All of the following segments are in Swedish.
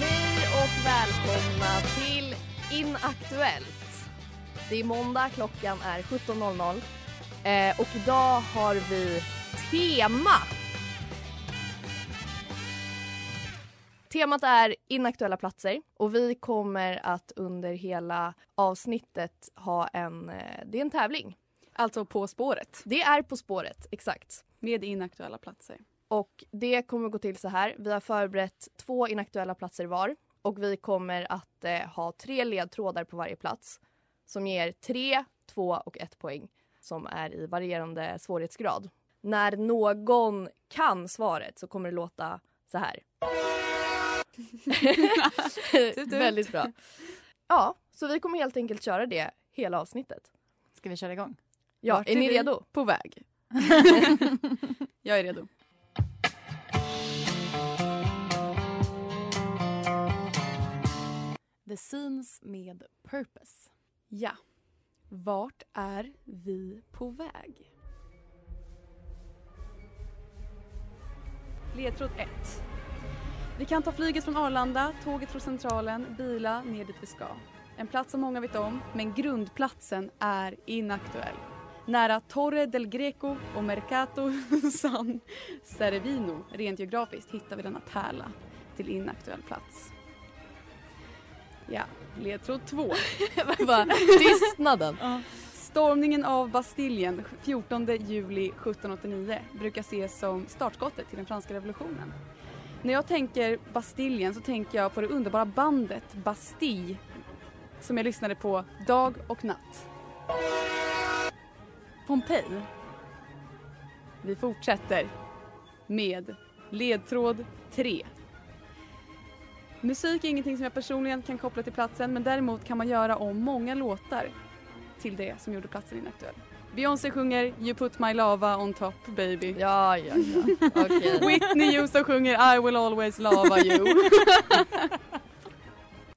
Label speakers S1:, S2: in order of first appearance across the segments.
S1: Hej och välkomna till Inaktuellt. Det är måndag, klockan är 17.00 eh, och idag har vi tema. Temat är inaktuella platser och vi kommer att under hela avsnittet ha en, eh, det är en tävling.
S2: Alltså På spåret
S1: Det är På spåret, exakt.
S2: med inaktuella platser.
S1: Och det kommer gå till så här. Vi har förberett två inaktuella platser var och vi kommer att eh, ha tre ledtrådar på varje plats som ger tre, två och ett poäng som är i varierande svårighetsgrad. När någon kan svaret så kommer det låta så här.
S2: tut.
S1: Väldigt bra. Ja, så vi kommer helt enkelt köra det hela avsnittet.
S3: Ska vi köra igång?
S1: Ja,
S2: Vart
S1: är ni
S2: vi
S1: redo?
S2: På väg. jag är redo.
S3: The Scenes med Purpose.
S2: Ja. Vart är vi på väg? Ledtråd 1. Vi kan ta flyget från Arlanda, tåget från Centralen, bila ner dit vi ska. En plats som många vet om, men grundplatsen är inaktuell. Nära Torre del Greco och Mercato San Cervino, rent geografiskt, hittar vi denna pärla till inaktuell plats. Ja, ledtråd 2.
S1: Bara Tystnaden.
S2: Stormningen av Bastiljen 14 juli 1789 brukar ses som startskottet till den franska revolutionen. När jag tänker Bastiljen så tänker jag på det underbara bandet Bastille som jag lyssnade på dag och natt. Pompeji. Vi fortsätter med ledtråd 3. Musik är ingenting som jag personligen kan koppla till platsen men däremot kan man göra om många låtar till det som gjorde platsen inaktuell. Beyoncé sjunger You put my lava on top baby.
S1: Ja, ja, ja. Okej.
S2: Whitney Houston sjunger I will always lava you.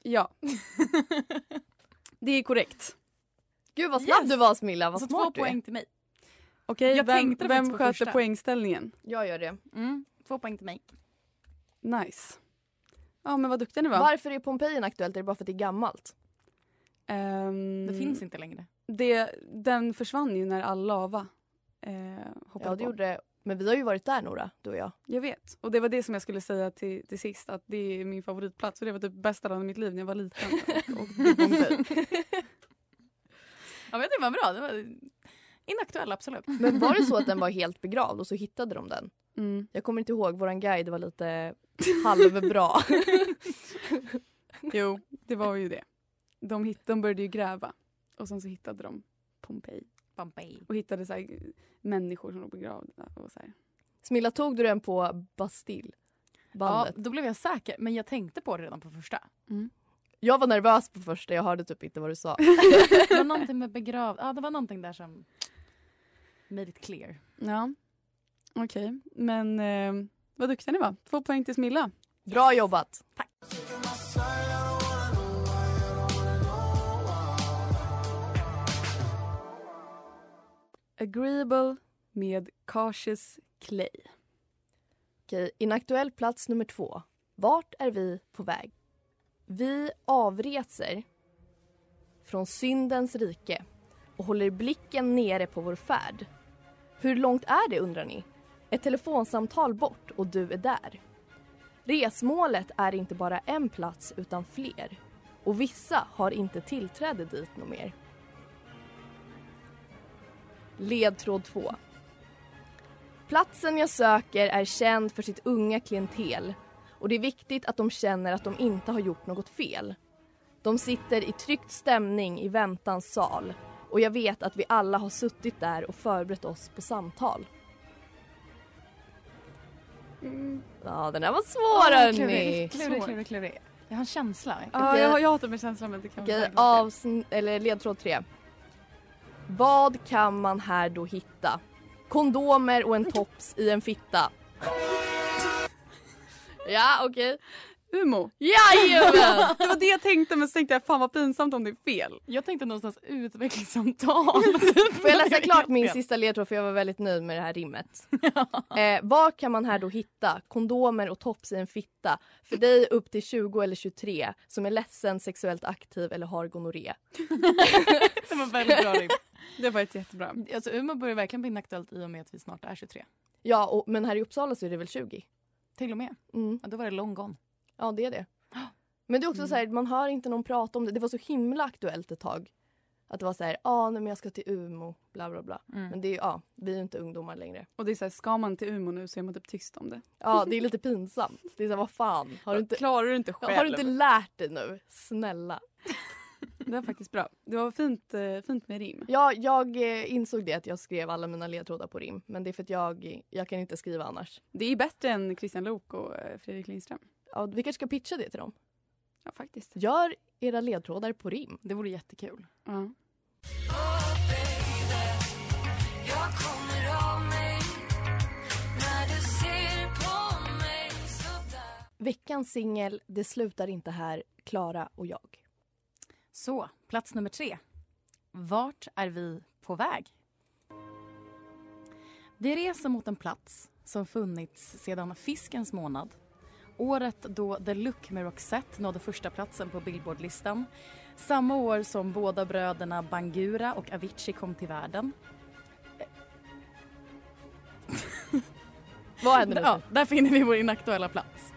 S2: ja. Det är korrekt.
S1: Gud vad snabb
S3: Yes.
S1: du var Smilla, vad
S3: Så
S2: alltså,
S1: smart
S3: två
S1: du är.
S3: poäng till mig.
S2: Okej,
S3: Jag
S2: vem,
S3: tänkte det
S2: vem
S3: faktiskt på
S2: sköter
S3: första.
S2: poängställningen?
S1: Jag gör det.
S3: Mm. Två poäng till mig.
S2: Nice. Ja men vad duktiga ni var.
S1: Varför är Pompeji aktuellt? Är det bara för att det är gammalt?
S2: Ehm,
S3: Det finns inte längre.
S2: det, den försvann ju när all lava eh, hoppade
S1: Ja, det
S2: på.
S1: gjorde Men vi har ju varit där Nora, du och jag.
S2: Jag vet. Och det var det som jag skulle säga till, till sist att det är min favoritplats och det var typ bästa dagen i mitt liv när jag var liten. Och, och
S3: Ja, men det var bra. Det var inaktuell, absolut.
S1: Men var det så att den var helt begravd och så hittade de den?
S2: mm.
S1: Jag kommer inte ihåg, våran guide var lite halvbra.
S2: Jo, det var ju det. De, hitt, de började ju gräva och sen så hittade de Pompeji
S3: Pompeji.
S2: och hittade så här, eh, människor som låg begravda. Och så här.
S1: Smilla, tog du den på Bastille?
S3: Ja,
S1: Bandet.
S3: då blev jag säker, men jag tänkte på det redan på första.
S1: Jag var nervös på första, jag hörde typ inte vad du sa.
S3: Det var någonting med begrav... Ja, det var någonting där som made it clear.
S2: Ja, okej. Men eh, vad duktiga ni var. Två poäng till Smilla.
S1: Bra jobbat!
S2: Agreeable med Cautious Clay.
S1: Okej, inaktuell plats nummer två. Vart är vi på väg? Vi avreser från syndens rike och håller blicken nere på vår färd. Hur långt är det undrar ni? Ett telefonsamtal bort och du är där. Resmålet är inte bara en plats utan fler och vissa har inte tillträde dit något mer. Ledtråd 2. Platsen jag söker är känd för sitt unga klientel och det är viktigt att de känner att de inte har gjort något fel. De sitter i tryckt stämning i väntans sal och jag vet att vi alla har suttit där och förberett oss på samtal. Ja, den här var svår
S3: Åh,
S1: hörni!
S3: Klurig, klurig, klurig, klurig. Jag har en känsla.
S2: Ja, jag, jag hatar med känslan men det kan
S1: Okej,
S2: vara säkert.
S1: avsn- eller ledtråd tre. Vad kan man här då hitta? Kondomer och en tops i en fitta. Ja, okej.
S2: Umo.
S1: Jajamän!
S2: Det var det jag tänkte men så tänkte jag fan vad pinsamt om det är fel.
S3: Jag tänkte någonstans utvecklingssamtal.
S1: Får jag läsa klart min sista ledtråd för jag var väldigt nöjd med det här rimmet. Eh, vad kan man här då hitta? Kondomer och tops i en fitta. För dig upp till 20 eller 23 som är ledsen, sexuellt aktiv eller har gonorré.
S3: Det var väldigt bra rim.
S2: Det var ett jättebra.
S3: Alltså Umeå börjar verkligen bli inaktuellt i och med att vi snart är 23.
S1: Ja, och, men här i Uppsala så är det väl 20?
S3: Till och med.
S1: Mm.
S3: Ja, då var det long gone.
S1: Ja, det är det. Men det är också så
S3: Mm.
S1: här, man hör inte någon prata om det. Det var så himla aktuellt ett tag. Att det var så här, ja, ah, nej, men jag ska till Umeå, bla bla bla.
S3: Mm.
S1: Men det är ju, ja, vi är ju inte ungdomar längre.
S2: Och det är så här, ska man till Umeå nu så är man typ tyst om det.
S1: Ja, det är lite pinsamt. Det är så här, vad fan, har du inte,
S2: Klarar du inte själv?
S1: har du inte lärt dig nu? Snälla.
S2: Det var faktiskt bra. Det var fint, eh, fint med rim.
S1: Ja, jag eh, insåg det att jag skrev alla mina ledtrådar på rim. Men det är för att jag, jag kan inte skriva annars.
S2: Det är bättre än Christian Lok och eh, Fredrik Lindström.
S1: Ja, vi kanske ska pitcha det till dem.
S2: Ja faktiskt.
S1: Gör era ledtrådar på rim.
S3: Det vore jättekul.
S2: Ja.
S1: Veckans singel, Det slutar inte här, Klara och jag.
S3: Så, plats nummer tre. Vart är vi på väg? Vi reser mot en plats som funnits sedan fiskens månad. Året då The Look med Roxette nådde första platsen på Billboardlistan. Samma år som båda bröderna Bangura och Avicii kom till världen.
S1: Vad händer nu?
S3: Ja, där finner vi vår inaktuella plats.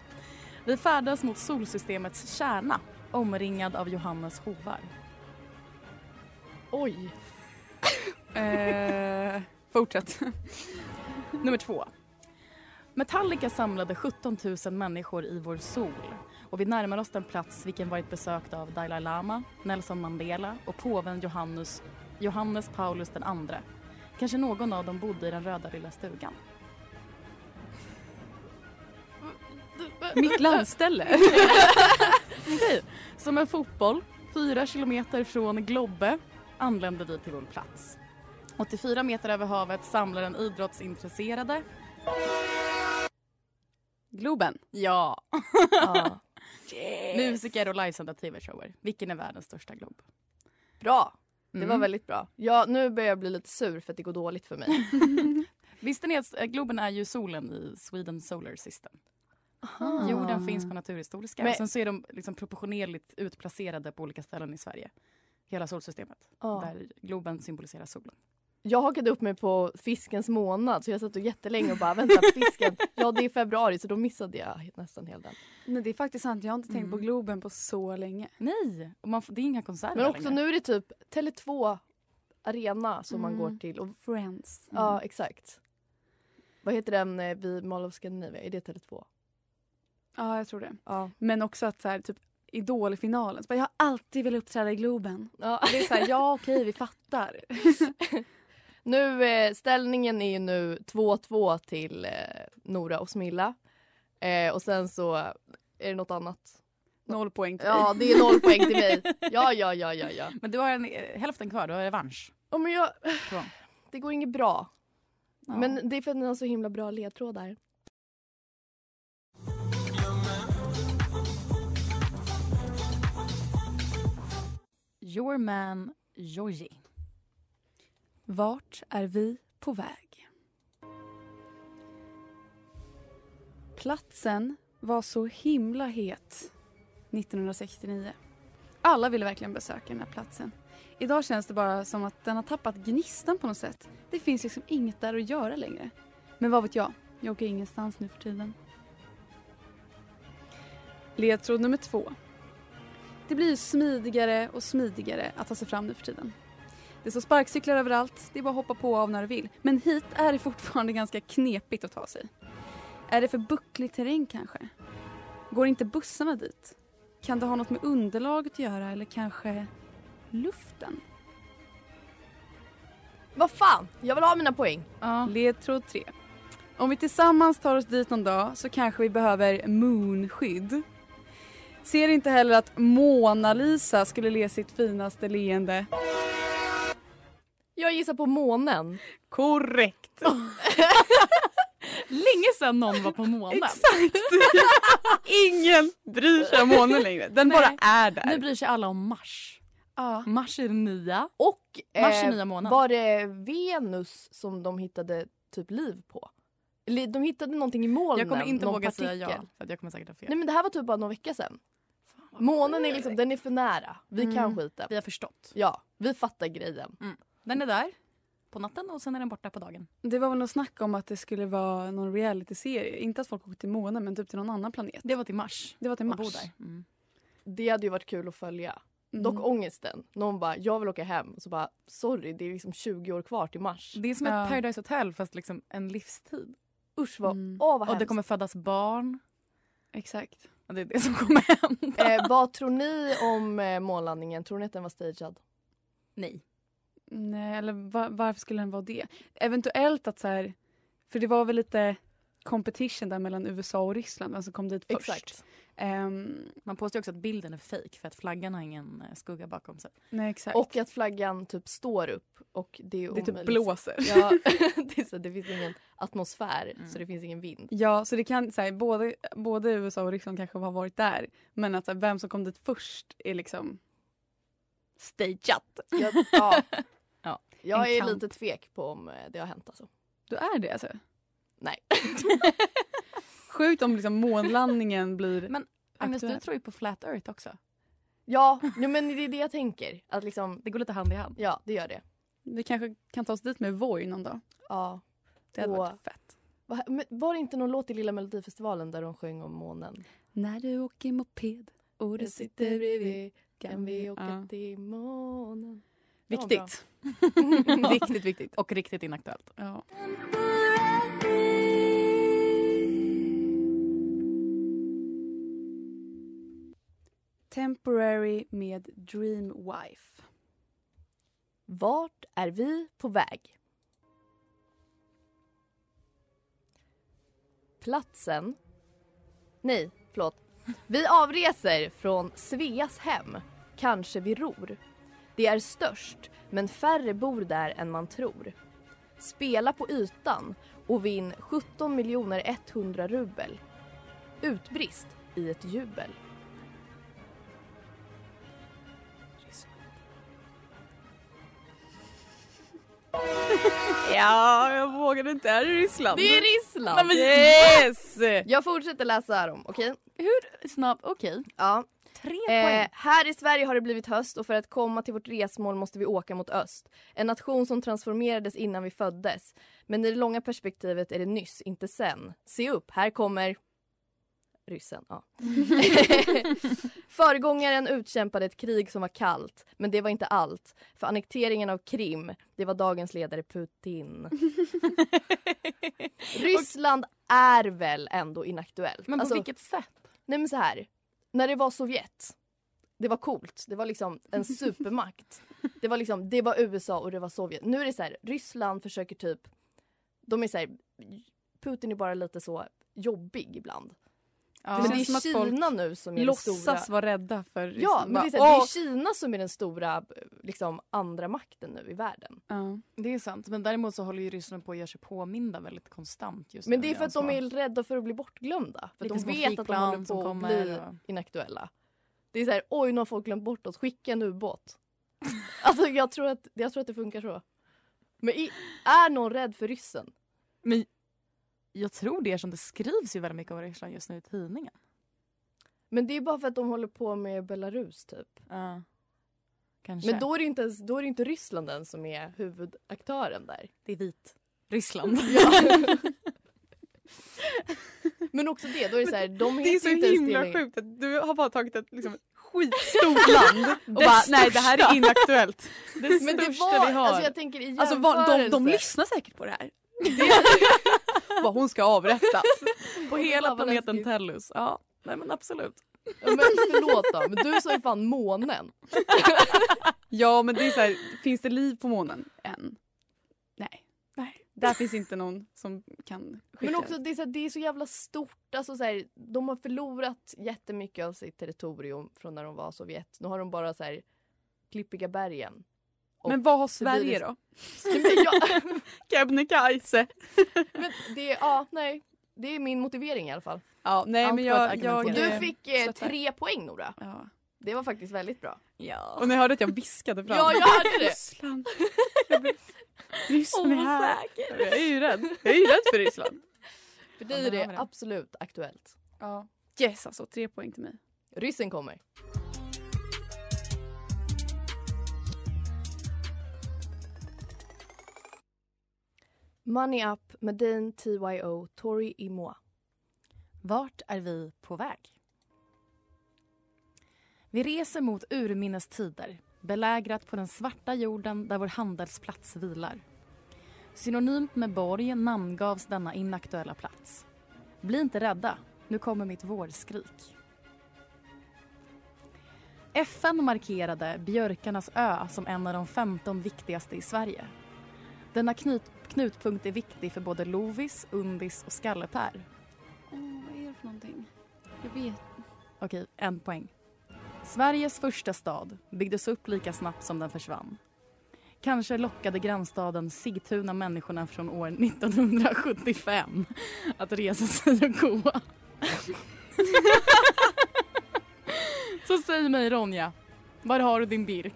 S3: Vi färdas mot solsystemets kärna omringad av Johannes hovar.
S1: Oj.
S2: Eh, fortsätt.
S3: Nummer två. Metallica samlade 17 000 människor i vår sol och vi närmar oss den plats vilken varit besökt av Dalai Lama, Nelson Mandela och påven Johannes, Johannes Paulus den andre. Kanske någon av dem bodde i den röda lilla stugan.
S2: Mitt landställe.
S3: Okej, Som en fotboll, fyra kilometer från Globbe, anländer vi till vår plats. 84 meter över havet samlar den idrottsintresserade.
S2: Globen.
S3: Ja,
S1: Ja.
S3: musiker och livesända tv-shower. Vilken är världens största glob?
S1: Bra. Det
S3: Mm.
S1: var väldigt bra. Ja, nu börjar jag bli lite sur för att det går dåligt för mig.
S3: Visste ni att eh, Globen är ju solen i Sweden Solar System?
S2: Ah.
S3: Jorden finns på
S1: Ah.
S3: Naturhistoriska.
S1: Men-
S3: Och sen så är de liksom proportionerligt utplacerade på olika ställen i Sverige. Hela solsystemet.
S1: Ja.
S3: Där Globen symboliserar solen.
S1: Jag hakade upp mig på fiskens månad så jag satt och jättelänge och bara vänta fisken. Ja det är februari så då missade jag nästan hela den.
S2: Nej det är faktiskt sant, jag har inte tänkt på Globen på så länge.
S3: Nej! Och man får, det är inga konserter
S1: Men också
S3: längre.
S1: nu är det typ Tele2 Arena som man
S2: Mm.
S1: går till. Och,
S2: Friends. Mm.
S1: Ja exakt. Vad heter den eh, vid Mall of Scandinavia? Är det Tele2?
S2: Ja jag tror det.
S1: Ja.
S2: Men också att så här, typ Idol-finalen. Så bara, Jag har alltid velat uppträda i Globen.
S1: ja.
S2: Det är så här, ja okej vi fattar.
S1: Nu, eh, ställningen är ju nu 2-2 till eh, Nora och Smilla. Eh, och sen så är det något annat.
S2: Noll poäng till dig.
S1: Ja, det är noll poäng till mig. Ja, ja, ja, ja, ja.
S3: Men du har en, eh, hälften kvar, du har revansch.
S1: Ja, men jag,
S3: Bra.
S1: det går inget bra.
S3: Ja.
S1: Men det är för att ni har så himla bra ledtrådar.
S3: Your man Georgie.
S4: Vart är vi på väg?
S2: Platsen var så himla het 1969. Alla ville verkligen besöka den här platsen. Idag känns det bara som att den har tappat gnistan på något sätt. Det finns liksom inget där att göra längre. Men vad vet jag? Jag åker ingenstans nu för tiden. Ledtråd nummer två. Det blir smidigare och smidigare att ta sig fram nu för tiden. Det står sparkcyklar överallt, det är bara att hoppa på och av när du vill. Men hit är det fortfarande ganska knepigt att ta sig. Är det för bucklig terräng kanske? Går inte bussarna dit? Kan det ha något med underlaget att göra eller kanske luften?
S1: Vad fan, jag vill ha mina poäng.
S3: Ja.
S2: Ledtråd 3. Om vi tillsammans tar oss dit någon dag så kanske vi behöver moonskydd. Ser inte heller att Mona Lisa skulle le sitt finaste leende.
S1: Jag gissar på månen.
S2: Korrekt!
S3: Länge sedan någon var på månen.
S2: Exakt! Ingen bryr sig om månen längre. Den
S3: Nej.
S2: bara är
S3: Nu
S2: där.
S3: bryr sig alla om Mars.
S2: Ja.
S3: Mars är den nya.
S1: Och
S3: Mars är
S1: eh,
S3: nya månaden.
S1: var det Venus som de hittade typ liv på? Eller De hittade någonting i molnen.
S3: Jag kommer inte
S1: någon
S3: våga säga
S1: partikel.
S3: ja. För att jag kommer säkert ha fel.
S1: Nej men det här var typ bara någon vecka sedan. Månen är liksom, den är för nära. Vi kan
S3: Mm.
S1: skiten.
S3: Vi har förstått.
S1: Ja, vi fattar grejen.
S3: Den är där på natten och sen är den borta på dagen.
S2: Det var väl något snack om att det skulle vara någon realityserie. Inte att folk åkte till månen men typ till någon annan planet.
S3: Det var till Mars.
S2: Det var till
S3: Och bo
S2: Mars.
S3: där. Mm.
S1: Det hade ju varit kul att följa.
S2: Mm.
S1: Dock ångesten. Någon bara, jag vill åka hem. Och så bara, sorry det är liksom 20 år kvar till mars.
S3: Det är som
S2: Ja.
S3: ett Paradise Hotel fast liksom en livstid.
S1: Usch vad,
S2: Mm.
S1: åh vad
S3: Och
S1: hemskt.
S3: det kommer födas barn.
S2: Exakt.
S3: Och det är det som kommer hända.
S1: eh, vad tror ni om eh, månlandningen? Tror ni att den var stagead?
S3: Nej.
S2: Nej, eller va- varför skulle den vara det? Eventuellt att så här, för det var väl lite competition där mellan USA och Ryssland, vem som kom dit först.
S1: Exakt.
S2: Ehm,
S3: Man påstår också att bilden är fejk för att flaggan har ingen eh, skugga bakom sig.
S2: nej, exakt.
S1: Och att flaggan typ står upp och det är
S2: det
S1: omöjligt.
S2: typ blåser.
S1: Ja, det, är så, det finns ingen atmosfär
S3: Mm.
S1: så det finns ingen vind.
S2: Ja, så det kan så här, både, både USA och Ryssland kanske har varit där, men att så här, vem som kom dit först är liksom stageat.
S1: Jag, ja.
S3: Ja,
S1: jag
S3: en
S1: är
S3: kamp.
S1: lite tvek på om eh, det har hänt alltså.
S2: Du är det alltså?
S1: Nej.
S2: Sjukt om liksom månlandningen blir...
S3: Men- Agnes, du
S2: Aktuellt.
S3: tror ju på Flat Earth också.
S1: Ja, nej, men det är det jag tänker. Att liksom,
S3: Det går lite hand i hand.
S1: ja det gör det.
S2: Vi kanske kan ta oss dit med Voi någon dag.
S1: Ja.
S2: Det hade
S1: Och-
S2: varit fett.
S1: Va- men Var det inte någon låt i Lilla Melodifestivalen där de sjöng om månen?
S2: När du åker moped och du sitter bredvid
S1: kan vi åka
S2: Ja.
S1: till månen? Det var bra.
S2: Viktigt. viktigt, viktigt.
S3: Och riktigt inaktuellt.
S2: Ja. Temporary med Dreamwife.
S1: Vart är vi på väg? Platsen... Nej, förlåt. Vi avreser från Sveas hem. Kanske vi ror. Det är störst, men färre bor där än man tror. Spela på ytan och vinn 17 miljoner 100 rubel. Utbrist i ett jubel.
S2: Ja, jag vågade inte. Är det Ryssland?
S1: Det är Ryssland!
S2: Yes!
S1: Jag fortsätter läsa dem, okej?
S3: Snabb, okej.
S1: Ja.
S3: Tre
S1: Eh,
S3: poäng.
S1: här i Sverige har det blivit höst och för att komma till vårt resmål måste vi åka mot öst. En nation som transformerades innan vi föddes. Men i det långa perspektivet är det nyss, inte sen. Se upp, här kommer ryssen. Ja. Föregångaren utkämpade ett krig som var kallt, men det var inte allt. För annekteringen av Krim, det var dagens ledare Putin. Ryssland är väl ändå inaktuellt?
S3: Men på
S1: Alltså-
S3: vilket sätt?
S1: Nej men så här. När det var Sovjet. Det var coolt. Det var liksom en supermakt. Det var liksom, det var USA och det var Sovjet. Nu är det så här, Ryssland försöker typ... De är så här, Putin är bara lite så jobbig ibland.
S2: Ja.
S1: men
S2: känns
S1: det
S2: som
S1: är
S2: att folk
S1: Kina nu som är den stora...
S2: Låtsas vara rädda för liksom Ryssland.
S1: Ja, men det är, så här, det är Kina som är den stora liksom, andra makten nu i världen.
S2: ja.
S3: Det är sant. Men däremot så håller ju Ryssland på att göra sig påminda väldigt konstant just
S1: Men
S3: nu.
S1: det är för att de
S3: Alltså,
S1: är rädda för att bli bortglömda. För att
S3: lite
S1: de
S3: små
S1: vet att de håller
S3: flygplan som
S1: på att
S3: kommer
S1: bli
S3: och-
S1: inaktuella. Det är så här, oj nu har folk glömt bort oss, skicka en ubåt. alltså jag tror, att, jag tror att det funkar så. Men i, är någon rädd för ryssen?
S3: Men jag tror det är som det skrivs ju väldigt mycket om Ryssland just nu i tidningen.
S1: Men det är bara för att de håller på med Belarus typ.
S3: Ja. Kanske.
S1: Men då är det inte, ens, då är det inte Ryssland ens som är huvudaktören där.
S3: Det är vit. Ryssland.
S1: Men också det, då är det så här, de
S2: Det är
S1: heter
S2: så
S1: inte ens
S2: himla
S1: längre.
S2: sjukt att du har bara tagit ett liksom, skitstort land och bara nej det här är inaktuellt.
S3: Det
S1: Men det
S3: största
S1: var,
S3: vi har.
S1: alltså jag tänker i jämförelse.
S2: Alltså vad- de, de lyssnar säkert på det här. Vad hon ska avrättas.
S3: på
S1: Ja,
S3: hela
S1: vad
S3: planeten
S1: läskigt.
S3: Tellus. Ja, nej men absolut.
S1: Ja, men förlåt då, men du sa ju fan månen.
S2: Ja men det är så här, finns det liv på månen än? Nej. Nej. Där finns inte någon som kan skicka
S1: Men också det är så, här, det är så jävla stort. Alltså så här, de har förlorat jättemycket av sitt territorium från när de var Sovjet. Nu har de bara så här klippiga bergen.
S2: Men vad har
S1: Sverige
S2: Sverige då?
S1: Men, jag,
S2: Kebnekaise.
S1: men det, är- ja, nej. Det är min motivering i alla fall.
S2: Ja nej
S3: Allt
S2: men
S3: var ett
S2: jag...
S3: argument.
S2: jag
S1: Och
S3: Okej.
S1: du fick eh,
S2: Stöttar.
S1: tre poäng Nora.
S2: ja.
S1: Det var faktiskt väldigt bra.
S3: Ja.
S2: Och ni hörde att jag viskade fram.
S1: Ja, jag hörde det.
S2: Ryssland. Jag blir- Ryssland är här.
S3: Osäker.
S2: Jag är ju rädd. Jag är ju rädd för Ryssland.
S1: För dig är
S3: där har vi
S1: det
S3: den.
S1: absolut aktuellt.
S2: Ja. Yes alltså, tre poäng till mig.
S1: Ryssen kommer. Money Up med Dane TYO, Tori Imoa.
S3: Vart är vi på väg? Vi reser mot urminnes tider, belägrat på den svarta jorden där vår handelsplats vilar. Synonymt med borg namngavs denna inaktuella plats. Bli inte rädda, nu kommer mitt vårskrik. FN markerade Björkarnas ö som en av de 15 viktigaste i Sverige. Denna knut- knutpunkt är viktig för både lovis, undis och skallepär.
S2: Åh, vad är det för någonting? Jag vet.
S3: Okej, en poäng. Sveriges första stad byggdes upp lika snabbt som den försvann. Kanske lockade grannstaden Sigtuna människorna från år 1975 att resa sig och gå. Så säg mig Ronja, var har du din Birk?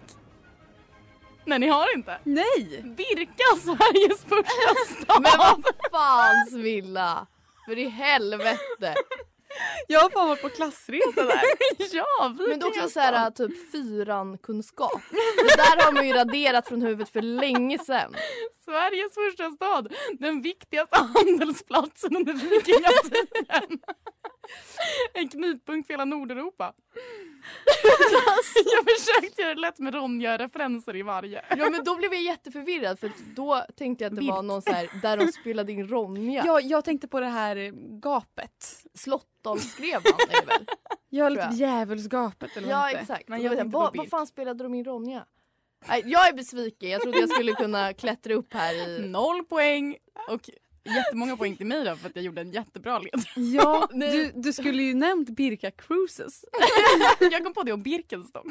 S3: Nej, ni har inte.
S2: Nej!
S3: Birka, Sveriges första stad!
S1: Men vad fan Smilla! För i helvete!
S2: Jag har fan varit på klassresa där.
S3: ja, vi
S1: Men det är också så här typ fyran-kunskap. Det där har man ju raderat från huvudet för länge sedan.
S3: Sveriges första stad, den viktigaste handelsplatsen under vikingatiden. En knutpunkt för hela Nordeuropa. Jag försökte göra det lätt med Ronja-referenser i varje.
S1: Ja men då blev jag jätteförvirrad för att då tänkte jag att det var någon så här där de spelade in Ronja.
S2: Jag, jag tänkte på det här eh, gapet.
S1: Slottholmsgrevan är det väl?
S2: Jag
S1: Tror
S2: lite
S1: jag.
S2: djävulsgapet eller
S1: Ja
S2: vad det heter.
S1: exakt.
S3: Men
S1: Och
S3: jag
S1: då
S3: tänkte på
S1: vad, vad
S3: Birk.
S1: fan spelade de in Ronja? Nej, jag är besviken, jag trodde jag skulle kunna klättra upp här i...
S3: Noll poäng och jättemånga poäng till mig då för att jag gjorde en jättebra led.
S2: Ja, du, du skulle ju nämnt Birka Cruises.
S3: Jag kom på det om Birkenstock.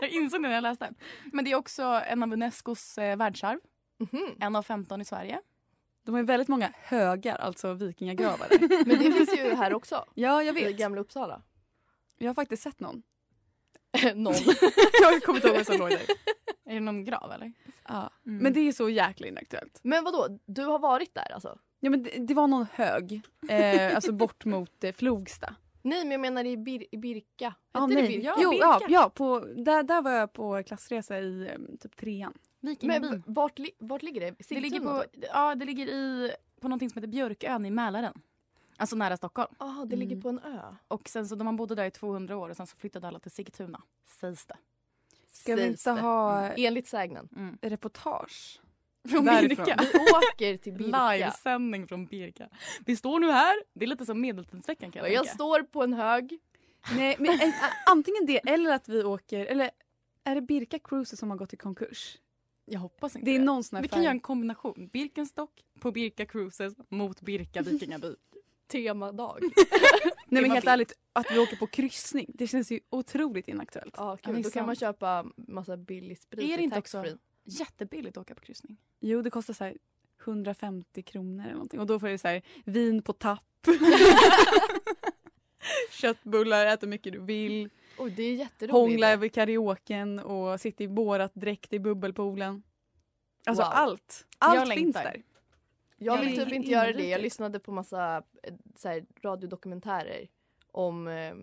S3: Jag insåg det när jag läste. Men det är också en av Unescos eh, världsarv.
S1: Mhm.
S3: En av 15 i Sverige.
S2: De har ju väldigt många högar, alltså vikingagravar. där.
S1: Men det finns ju här också.
S2: ja, jag
S1: I
S2: vet.
S1: Gamla Uppsala.
S2: Jag har faktiskt sett någon.
S1: Någon.
S2: Jag kommer inte ihåg vad som låg där.
S3: Är det någon grav eller?
S2: Ja. Men det är så jäkla inaktuellt.
S1: Men vadå, du har varit där alltså?
S2: Ja, men det, det var någon hög, eh, alltså bort mot eh, Flogsta.
S1: Nej men jag menar i, Bir- i Birka.
S2: Ja,
S1: Hette det
S2: nej.
S1: Birka?
S2: Jo, ja, ja på, där, där var jag på klassresa i eh, typ trean.
S1: Men
S3: Vikingbyn.
S1: v- vart, li- vart ligger det?
S3: Det
S1: Sigtuna,
S3: ligger, på,
S1: typ?
S3: ja, det ligger i, på någonting som heter Björkön i Mälaren. Alltså nära Stockholm.
S1: Jaha, det ligger på en ö.
S3: Och sen så de man bodde där i 200 år och sen så flyttade alla till Sigtuna. Sägs det.
S2: Ska vi
S1: Sägs
S2: inte
S1: det. Mm.
S2: ha
S1: Enligt sägnen.
S3: Mm.
S2: reportage?
S3: Från
S2: Därifrån.
S3: Birka.
S1: Vi åker till Birka.
S3: Livesändning från Birka. Vi står nu här. Det är lite som Medeltidsveckan kan
S1: Och
S3: jag,
S1: jag
S3: tänka.
S1: står på en hög.
S2: Nej, men eh, antingen det eller att vi åker, eller är det Birka Cruises som har gått i konkurs?
S3: jag hoppas inte
S2: Det är någon sån här
S3: Vi kan göra en kombination. Birkenstock på Birka Cruises mot Birka Vikingaby.
S1: Temadag.
S2: Nej men
S3: man
S2: helt
S3: vill.
S2: ärligt, att vi åker på kryssning, det känns ju otroligt inaktuellt.
S1: Ja,
S3: Ja, det
S1: kul.
S3: är
S1: Då kan man
S3: sant.
S1: köpa massa billig sprit
S3: Är det
S1: i
S3: inte också-
S1: taxfree.
S3: Jättebilligt att åka på kryssning.
S2: Jo, det kostar så här 150 kronor eller någonting och då får du så här vin på tapp. Köttbullar, äta hur mycket du vill,
S1: Oj, det är jätteroligt.
S2: hångla över karaoken och sitta i borat dräkt i bubbelpoolen. Alltså
S1: Wow.
S2: allt.
S3: Jag
S2: Allt finns
S3: längtar.
S2: där.
S1: Jag
S3: Jag
S1: vill
S3: är
S1: typ inte göra det.
S3: inrikes.
S1: Jag lyssnade på massa eh, så här, radiodokumentärer om eh,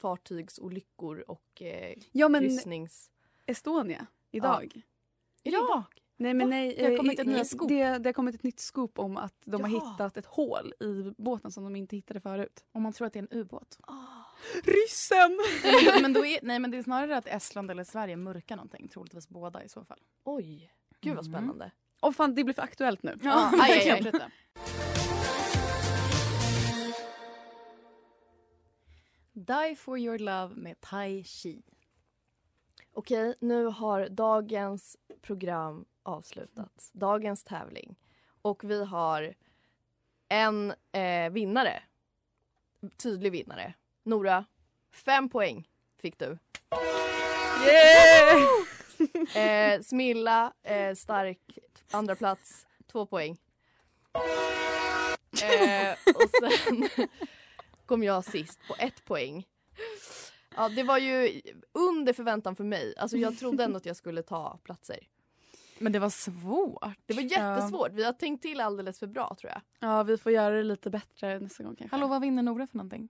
S1: fartygsolyckor och eh,
S2: Ja men
S1: kryssnings...
S2: Estonia idag.
S1: Är det
S3: Ja!
S2: Nej men
S3: Va?
S2: nej.
S3: Det har
S2: eh,
S3: kommit
S2: i-
S3: ett nya
S2: i-
S3: scoop.
S2: Det, det har kommit ett nytt scoop om att de har
S1: Ja.
S2: hittat ett hål i båten som de inte hittade förut.
S3: Om man tror att det är en ubåt.
S2: Ryssen!
S3: Nej, men, då är, nej, men det är snarare att Estland eller Sverige mörkar någonting. Troligtvis båda i så fall.
S1: Oj, gud vad
S3: Mm.
S1: spännande.
S2: Åh fan det blir för aktuellt nu.
S3: Ja,
S1: aj, aj, aj.
S3: Fortsätta. Die for your love med Tai Chi.
S1: Okej, nu har dagens program avslutats. Dagens tävling. Och vi har en eh, vinnare. Tydlig vinnare. Nora, fem poäng fick du. Eh, Smilla, eh, stark, andra plats, två poäng. Eh, och sen kom jag sist på ett poäng. Ja, det var ju under förväntan för mig. Alltså, jag trodde ändå att jag skulle ta platser.
S3: Men det var svårt.
S1: Det var jättesvårt. Vi har tänkt till alldeles för bra tror jag.
S2: Ja vi får göra det lite bättre nästa gång kanske.
S3: Hallå, vad vinner Nora för någonting?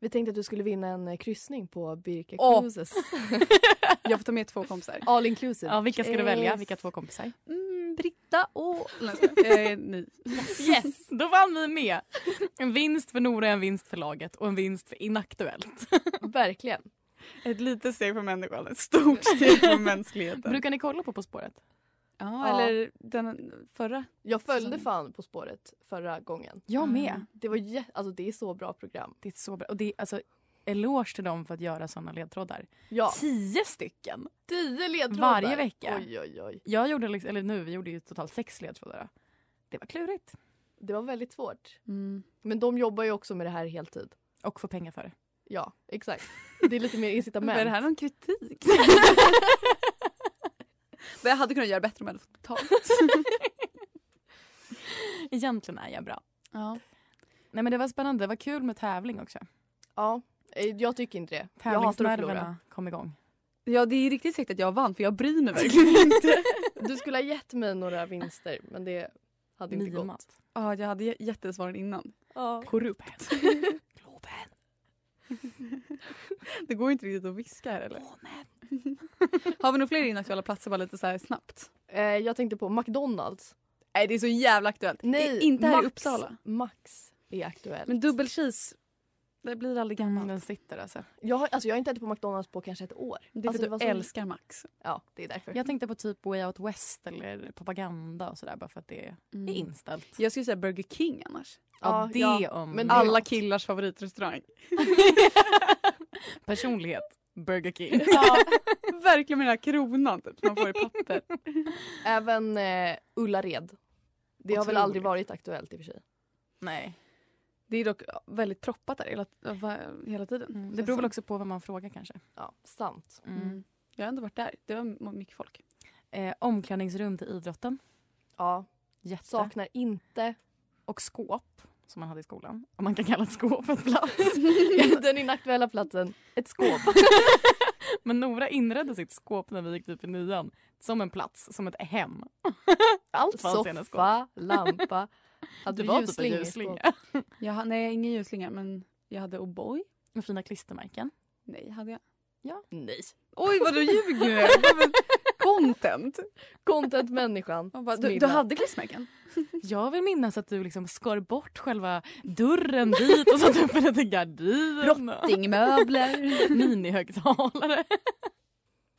S1: Vi tänkte att du skulle vinna en eh, kryssning på Birka
S2: Åh.
S1: Cruises.
S2: Jag får ta med två kompisar.
S1: All inclusive.
S3: Ja, vilka ska du
S1: Yes.
S3: välja? Vilka två kompisar?
S2: Mm,
S1: Britta och...
S2: eh, ni.
S3: Yes! Då vann vi med. En vinst för Nora, en vinst för laget och en vinst för Inaktuellt.
S1: Verkligen.
S2: Ett litet steg för människan, ett stort steg för mänskligheten.
S3: Brukar ni kolla på På spåret?
S1: Ja.
S2: ja, eller den förra.
S1: Jag följde
S2: Som-
S1: fan På spåret förra gången.
S3: Jag med.
S1: Det var jä... Alltså det är så bra program.
S3: Det är så bra. Och det är alltså eloge till dem för att göra såna ledtrådar.
S1: Ja.
S3: Tio stycken!
S1: Tio ledtrådar.
S3: Varje vecka.
S1: Oj, oj, oj.
S3: Jag gjorde, liksom, eller nu, vi gjorde ju totalt sex ledtrådar. Det var klurigt.
S1: Det var väldigt svårt.
S2: Mm.
S1: Men de jobbar ju också med det här heltid.
S3: Och få pengar för det.
S1: Ja, exakt. Det är lite mer incitament.
S2: Är det här någon kritik? Men jag hade kunnat göra bättre om jag hade fått betalt.
S3: Egentligen är jag bra.
S2: Ja.
S3: Nej men det var spännande, det var kul med tävling också.
S1: Ja, eh, jag tycker inte det. Jag hatar att förlora.
S3: Tävlingsnerverna kom igång.
S2: ja, det är riktigt säkert att jag vann för jag bryr mig verkligen inte.
S1: Du skulle ha gett mig några vinster men det hade inte gått.
S3: Nimat.
S2: Ja, jag hade jättesvaren innan.
S1: Ja.
S3: Korrupt. Globen.
S2: Det går inte riktigt att viska här eller? Har vi nog fler inaktuella platser bara lite så här snabbt?
S1: Eh, jag tänkte på McDonalds.
S2: Nej, det är så jävla aktuellt.
S1: Nej,
S2: inte här
S1: Max,
S2: i Uppsala.
S1: Max är aktuell.
S2: Men dubbel cheese, det blir aldrig gammalt.
S3: Den sitter alltså.
S1: Jag har, alltså, jag har inte ätit på McDonalds på kanske ett år.
S2: Det är för
S1: alltså,
S2: att
S1: var
S2: du
S1: så-
S2: älskar Max.
S1: Ja, det är därför.
S3: Jag tänkte på typ Way Out West eller propaganda och sådär bara för att det
S2: Mm.
S3: är inställt.
S2: Jag skulle säga Burger King annars.
S3: Ja,
S1: Ja,
S3: det
S1: ja.
S3: om
S1: Men
S3: all
S2: Alla killars favoritrestaurang.
S3: personlighet. Burger King.
S2: Ja, verkligen med den här kronan typ, man får i papper.
S1: Även eh, Ullared. Det har väl
S3: Otroligt.
S1: aldrig varit aktuellt i och för sig.
S3: Nej.
S2: Det är dock väldigt troppat där hela, va- hela tiden.
S3: Det beror väl också på vad man frågar kanske.
S1: Ja, sant.
S2: Mm. Jag har ändå varit där. Det var m- mycket folk.
S3: Eh, omklädningsrum till idrotten.
S1: Ja,
S3: Jätte.
S1: saknar inte.
S3: Och skåp som man hade i skolan. Om man kan kalla ett skåp ett plats.
S1: Den inaktuella platsen, ett skåp.
S3: Men Nora inredde sitt skåp när vi gick typ i nian som en plats, som ett hem. Allt fanns i hennes skåp.
S1: Soffa, lampa. Hade
S3: Det
S1: du
S3: var typ en
S1: ljusslinga i skåpet?
S3: ljusslinga.
S2: Jag, ha- nej, ingen ljuslinga men jag hade O'boy.
S3: Med fina klistermärken.
S2: Nej, hade jag.
S1: Nej.
S2: Oj vad du ljuger! Men Content!
S1: Content-människan.
S2: Man bara, Du,
S1: Smilla.
S2: du hade klistermärken?
S3: Jag vill minnas att du liksom skar bort själva dörren dit och satte upp en liten gardin.
S2: Dingmöbler.
S3: Minihögtalare.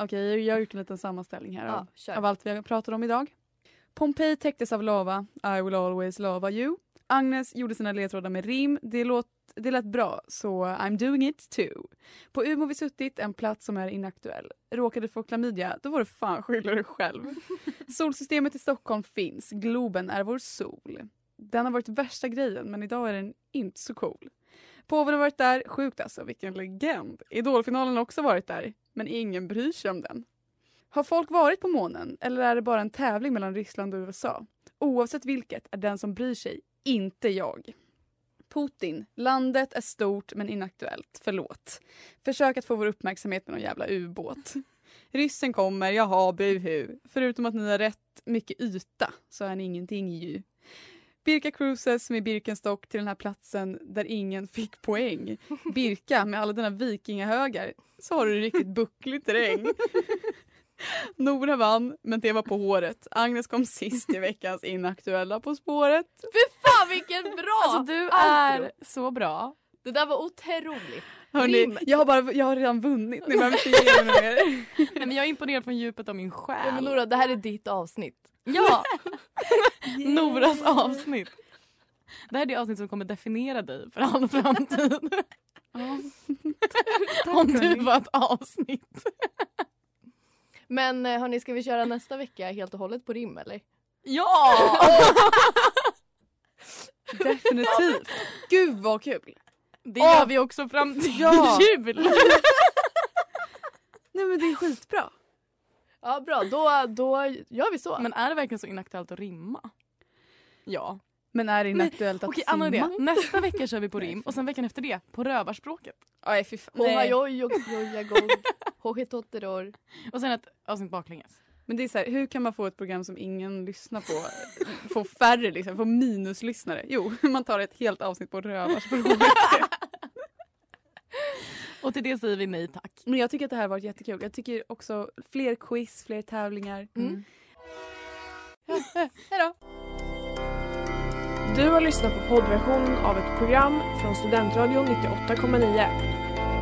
S2: Okej, jag har gjort en liten sammanställning här
S1: Ja,
S2: av, av
S1: kör.
S2: allt vi har pratat om idag. Pompeji täcktes av lava. I will always love you. Agnes gjorde sina ledtrådar med rim. Det, låt, det lät bra, så I'm doing it too. På Umeå har vi suttit, en plats som är inaktuell. Råkade du få klamydia, då var du fan skylla dig själv. Solsystemet i Stockholm finns. Globen är vår sol. Den har varit värsta grejen, men idag är den inte så cool. Påven har varit där. Sjukt alltså, vilken legend. Idolfinalen har också varit där, men ingen bryr sig om den. Har folk varit på månen eller är det bara en tävling mellan Ryssland och USA? Oavsett vilket är den som bryr sig inte jag. Putin. Landet är stort men inaktuellt. Förlåt. Försök att få vår uppmärksamhet med någon jävla ubåt. Ryssen kommer, jaha, buhu. Förutom att ni har rätt väldigt mycket yta så är han ingenting ju. Birka Cruises med Birkenstock till den här platsen där ingen fick poäng. Birka med alla dina vikingahögar så har du riktigt bucklig terräng. Nora vann, men det var på håret. Agnes kom sist i veckans inaktuella På spåret.
S1: Fan vilket bra!
S3: Alltså du är så bra.
S1: Det där var otroligt.
S2: Hörrni,
S1: Rim.
S2: jag har, bara, jag har redan vunnit. Ni behöver inte ge mig något mer.
S3: Nej, men jag är imponerad från djupet av min själ.
S1: Ja, men Nora, det här är ditt avsnitt.
S3: Ja! Noras avsnitt. Det här är det avsnitt som kommer definiera dig för all framtid. Om du var ett avsnitt.
S1: Men eh, hörni, ska vi köra nästa vecka helt och hållet på rim eller?
S3: Ja!
S2: Definitivt. Gud vad kul.
S3: Det gör vi också fram till
S2: Ja.
S3: jul.
S2: Nej men det är skitbra.
S1: Ja bra, då, då gör vi så.
S3: Men är det verkligen så inaktuellt att rimma? Ja.
S2: Men är det inaktuellt att
S3: Okej,
S2: simma?
S3: annan idé. Nästa vecka kör vi på rim och sen veckan efter det på rövarspråket.
S2: Nej fy fan. Nej.
S1: Ohajoj och jojagog. Hojitotteror.
S3: Och sen ett avsnitt baklänges.
S2: Men det är så här, hur kan man få ett program som ingen lyssnar på? Få färre liksom, få minuslyssnare? Jo, man tar ett helt avsnitt på rövarspråket.
S3: Och till det säger vi nej tack.
S2: Men jag tycker att det här har varit jättekul. Jag tycker också fler quiz, fler tävlingar.
S1: Mm.
S5: Du har lyssnat på poddversionen av ett program från Studentradion 98,9.